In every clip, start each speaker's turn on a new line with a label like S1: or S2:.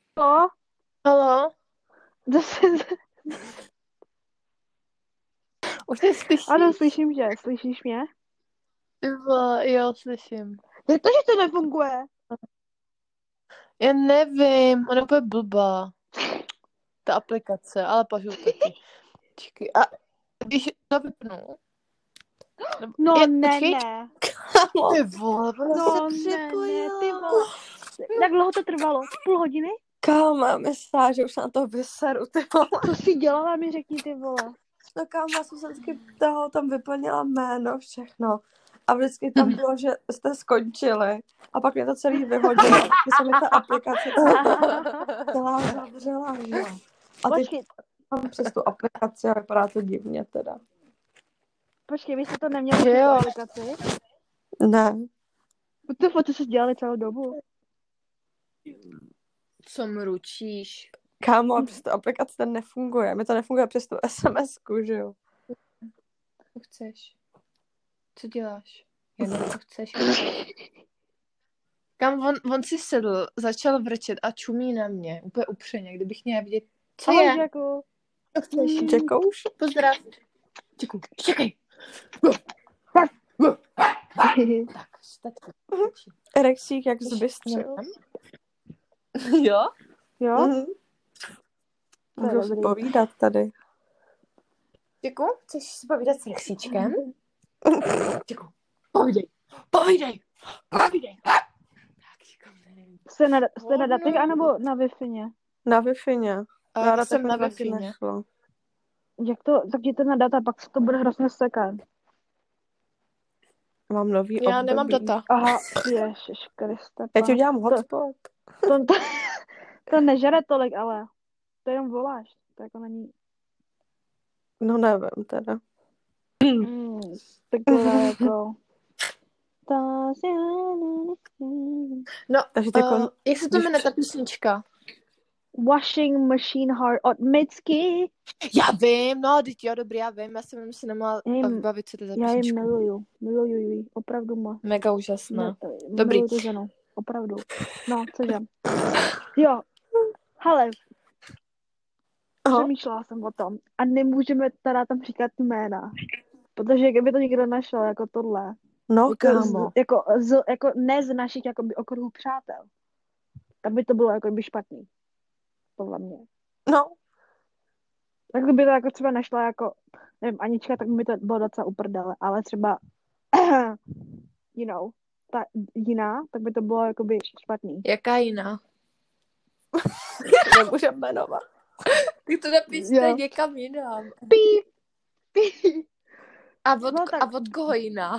S1: Halo,
S2: Halo?
S1: zase,
S2: Už mě slyšíš?
S1: ano, slyším tě, slyšíš mě?
S2: Ty vole, jo, slyším.
S1: Jak to, že to nefunguje?
S2: Já nevím, ona je úplně blbá. Ta aplikace, ale pažu taky. Čekaj, a když to vypnu? Nebo-
S1: No
S2: Je-
S1: ne,
S2: počkej,
S1: ne,
S2: kámo. Ty vole, ona
S1: no
S2: se
S1: ne, ne,
S2: připojila.
S1: ty vole. Jak dlouho to trvalo? Půl hodiny?
S3: Kámo, já myslím, že už na to vyseru, ty vole.
S1: Co jsi dělala, mi řekni ty vole.
S3: No kámo, já jsem se vždycky toho tam vyplnila jméno, všechno. A vždycky
S1: Mhm.
S3: tam bylo, že jste skončili. A pak mě to celý vyhodilo. Když se mi ta aplikace celá zavřela, že jo. A teď
S1: Počkej,
S3: mám přes tu aplikaci a vypadá to divně teda.
S1: počkej, vy jste to neměli
S2: Že
S1: přes
S2: jo.
S1: aplikaci?
S3: Ne.
S1: Ty vole, to jsi dělali celou dobu.
S2: Co mručíš?
S3: Kámo, a přes tu aplikaci to nefunguje. Mi to nefunguje přes tu SMS-ku, že jo.
S2: Co chceš? Co děláš? Já nevím, co chceš. Kam on, on si sedl, začal vrčet a čumí na mě, úplně upřeně, kdybych měla vidět, co
S1: Ahoj,
S2: je.
S1: Žaku.
S2: Co chceš?
S3: Čekouš?
S2: Pozdrav. Čeku, čekej. Tak, stačí.
S3: Rexík jak zbystřil.
S2: Jo?
S1: Jo?
S3: Mhm.
S1: To je
S3: Můžu si
S1: dobrý.
S3: povídat tady.
S2: Děku, chceš si povídat s Rexíčkem? Děku, povídej, povídej, povídej. Tak, děku, nevím.
S1: Jste na, jste na datech anebo na wi
S3: Na Wi-Fi.
S2: A já jsem na vafině.
S1: Jak to, tak jděte na data, pak se to bude hrozně sekat.
S3: Mám nový
S2: Já
S3: období.
S2: nemám data.
S1: Aha, ježiš, Krista.
S3: Já ti udělám hotspot.
S1: To, to, to nežere tolik, ale to jenom voláš. To jako není...
S3: No nevím teda.
S1: Mm, takové jako... To se-
S3: Takže ty kon...
S2: Uh, jak se to
S3: když
S2: jmenuje ta písnička?
S1: Washing Machine Heart od Mitski.
S2: Já vím, no, teď jo, dobrý, já vím, já jsem si nemohla
S1: Já jim-
S2: vybavit, co to je za
S1: Já ji
S2: písnička.
S1: miluju. Miluju ji. Opravdu moc.
S2: Mega úžasná.
S1: Mil- miluju
S2: Dobrý.
S1: tu ženu. Opravdu. No, cože. Jo. Hele,
S3: Aha.
S1: přemýšlela jsem o tom. A nemůžeme teda tam říkat jména. Protože kdyby to někdo našel jako tohle,
S3: No
S1: Jako, z,
S3: kámo.
S1: jako, z, jako ne z našich jakoby, okruhů přátel. Tam by to bylo jako by špatný. Podle mě.
S3: No.
S1: Tak kdyby to jako třeba našla jako, nevím, Anička, tak by to bylo docela uprdele, ale třeba, you know, ta jiná, tak by to bylo jakoby špatný.
S2: Jaká jiná?
S3: Nemůžeme jmenovat.
S2: Ty to napište
S1: Jo.
S2: někam jinam.
S1: Pí, pí.
S2: A od,
S1: No tak-
S2: a od koho jiná?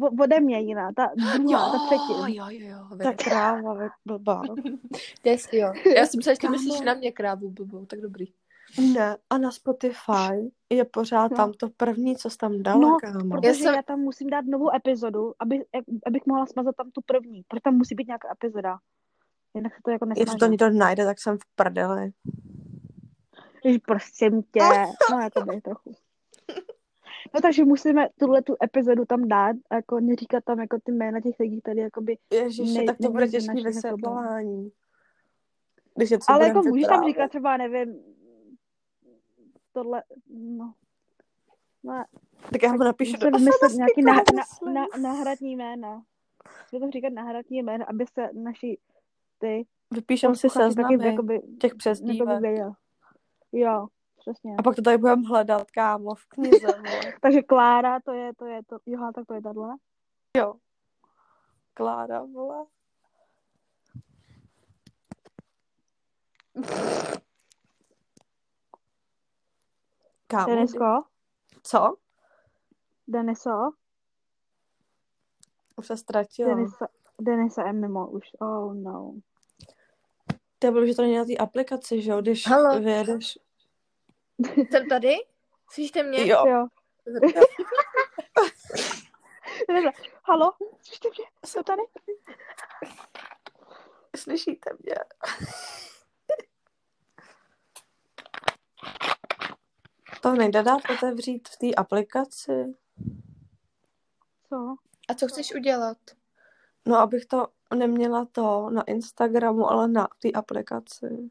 S1: O- Ode mě jiná, ta druhá, ta třetí.
S2: jo, jo, jo.
S3: Ta kráva vy- blbá.
S2: Des, jo. Já jsem se že
S3: Kámo.
S2: myslíš na mě krávu blbou, tak dobrý.
S3: Ne. A na Spotify je pořád
S1: No.
S3: tam to první, co jsi tam dala,
S1: No,
S3: kámo.
S1: Protože já,
S2: jsem-
S1: já tam musím dát novou epizodu, aby, abych mohla smazat tam tu první, protože tam musí být nějaká epizoda. Jinak se to jako nesmaží.
S3: Jestli to někdo najde, tak jsem v prdeli.
S1: Jež prosím tě, no jako by trochu. No takže musíme tuhle tu epizodu tam dát, a jako neříkat tam jako ty jména těch lidí tady, jakoby,
S3: Ježiši,
S1: Ne-
S3: tak to bude
S1: nemůžu
S3: těžký
S1: našich
S3: vysvětlování. Když je třeba
S1: ale
S3: budem
S1: jako můžeš tam
S3: vyprávět.
S1: říkat třeba, nevím, tohle, no. No,
S3: Tak já mu napíšu
S1: musíme
S3: do
S1: vymyslet
S3: SMS-ky,
S1: nějaký na, na,
S3: myslím.
S1: na, náhradní jména. Musíme tam říkat náhradní jména, aby se naši ty
S3: Vypíšem si
S1: posluchači
S3: seznamy
S1: taky jakoby,
S3: těch přezdívek.
S1: jakoby věděl. Jo, přesně.
S3: A pak to tady budeme hledat, kámo, v knize. vole.
S1: Takže Klára, to je, to je, to, jo, tak to je tato.
S3: jo. Klára, vole. Kámo,
S1: Denisko,
S3: co?
S1: Deniso.
S3: Už se ztratila.
S1: Denisa, Denisa je mimo už. Oh no.
S3: To je bylo, že to není na té aplikaci, že jo, když
S2: Halo.
S3: vyjedeš.
S2: Jsem tady? Slyšíte mě?
S3: Jo,
S1: Jo. Denisa, Halo? Slyšte mě? Jsou tady?
S3: slyšíte mě? To nejde dát otevřít v té aplikaci.
S1: Co?
S2: A co chceš udělat?
S3: No, abych to neměla to na Instagramu, ale na té aplikaci.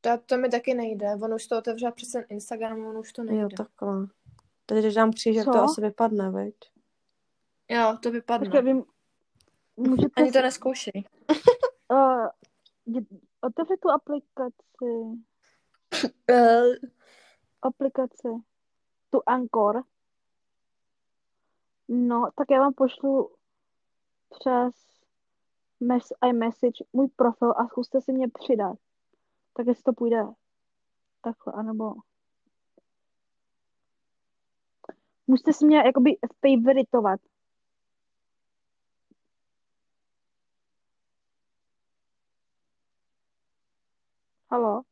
S2: To, to mi taky nejde. On už to otevřel přes ten Instagram, on už to nejde.
S3: Jo, takhle. Teď, když dám křížek,
S1: Co?
S3: to asi vypadne, viď?
S2: jo to vypadne.
S1: Počkej, vy můžete
S2: Ani to neskoušej.
S1: uh, jed- otevřít tu aplikaci,
S2: Eh,
S1: aplikaci, tu Anchor. No, tak já vám pošlu přes mes, iMessage můj profil a zkuste si mě přidat. Tak jestli to půjde takhle, anebo... Můžete si mě jakoby favoritovat. Halo?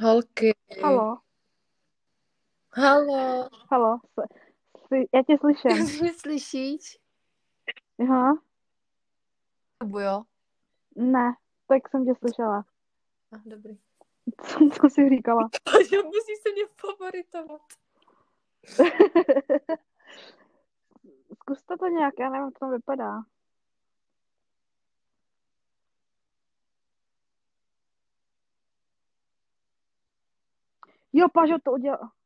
S2: Holky.
S1: Halo?
S2: Halo.
S1: Halo? S- s- Já tě slyším.
S2: Mě slyšíš?
S1: Aha.
S2: Jo.
S1: Ne, tak jsem tě slyšela.
S2: Ah, dobrý.
S1: Co, co jsi říkala?
S2: Takže musíš se mě favoritovat.
S1: Zkuste to nějak, já nevím, jak to vypadá. Jo, Pažo to udělal.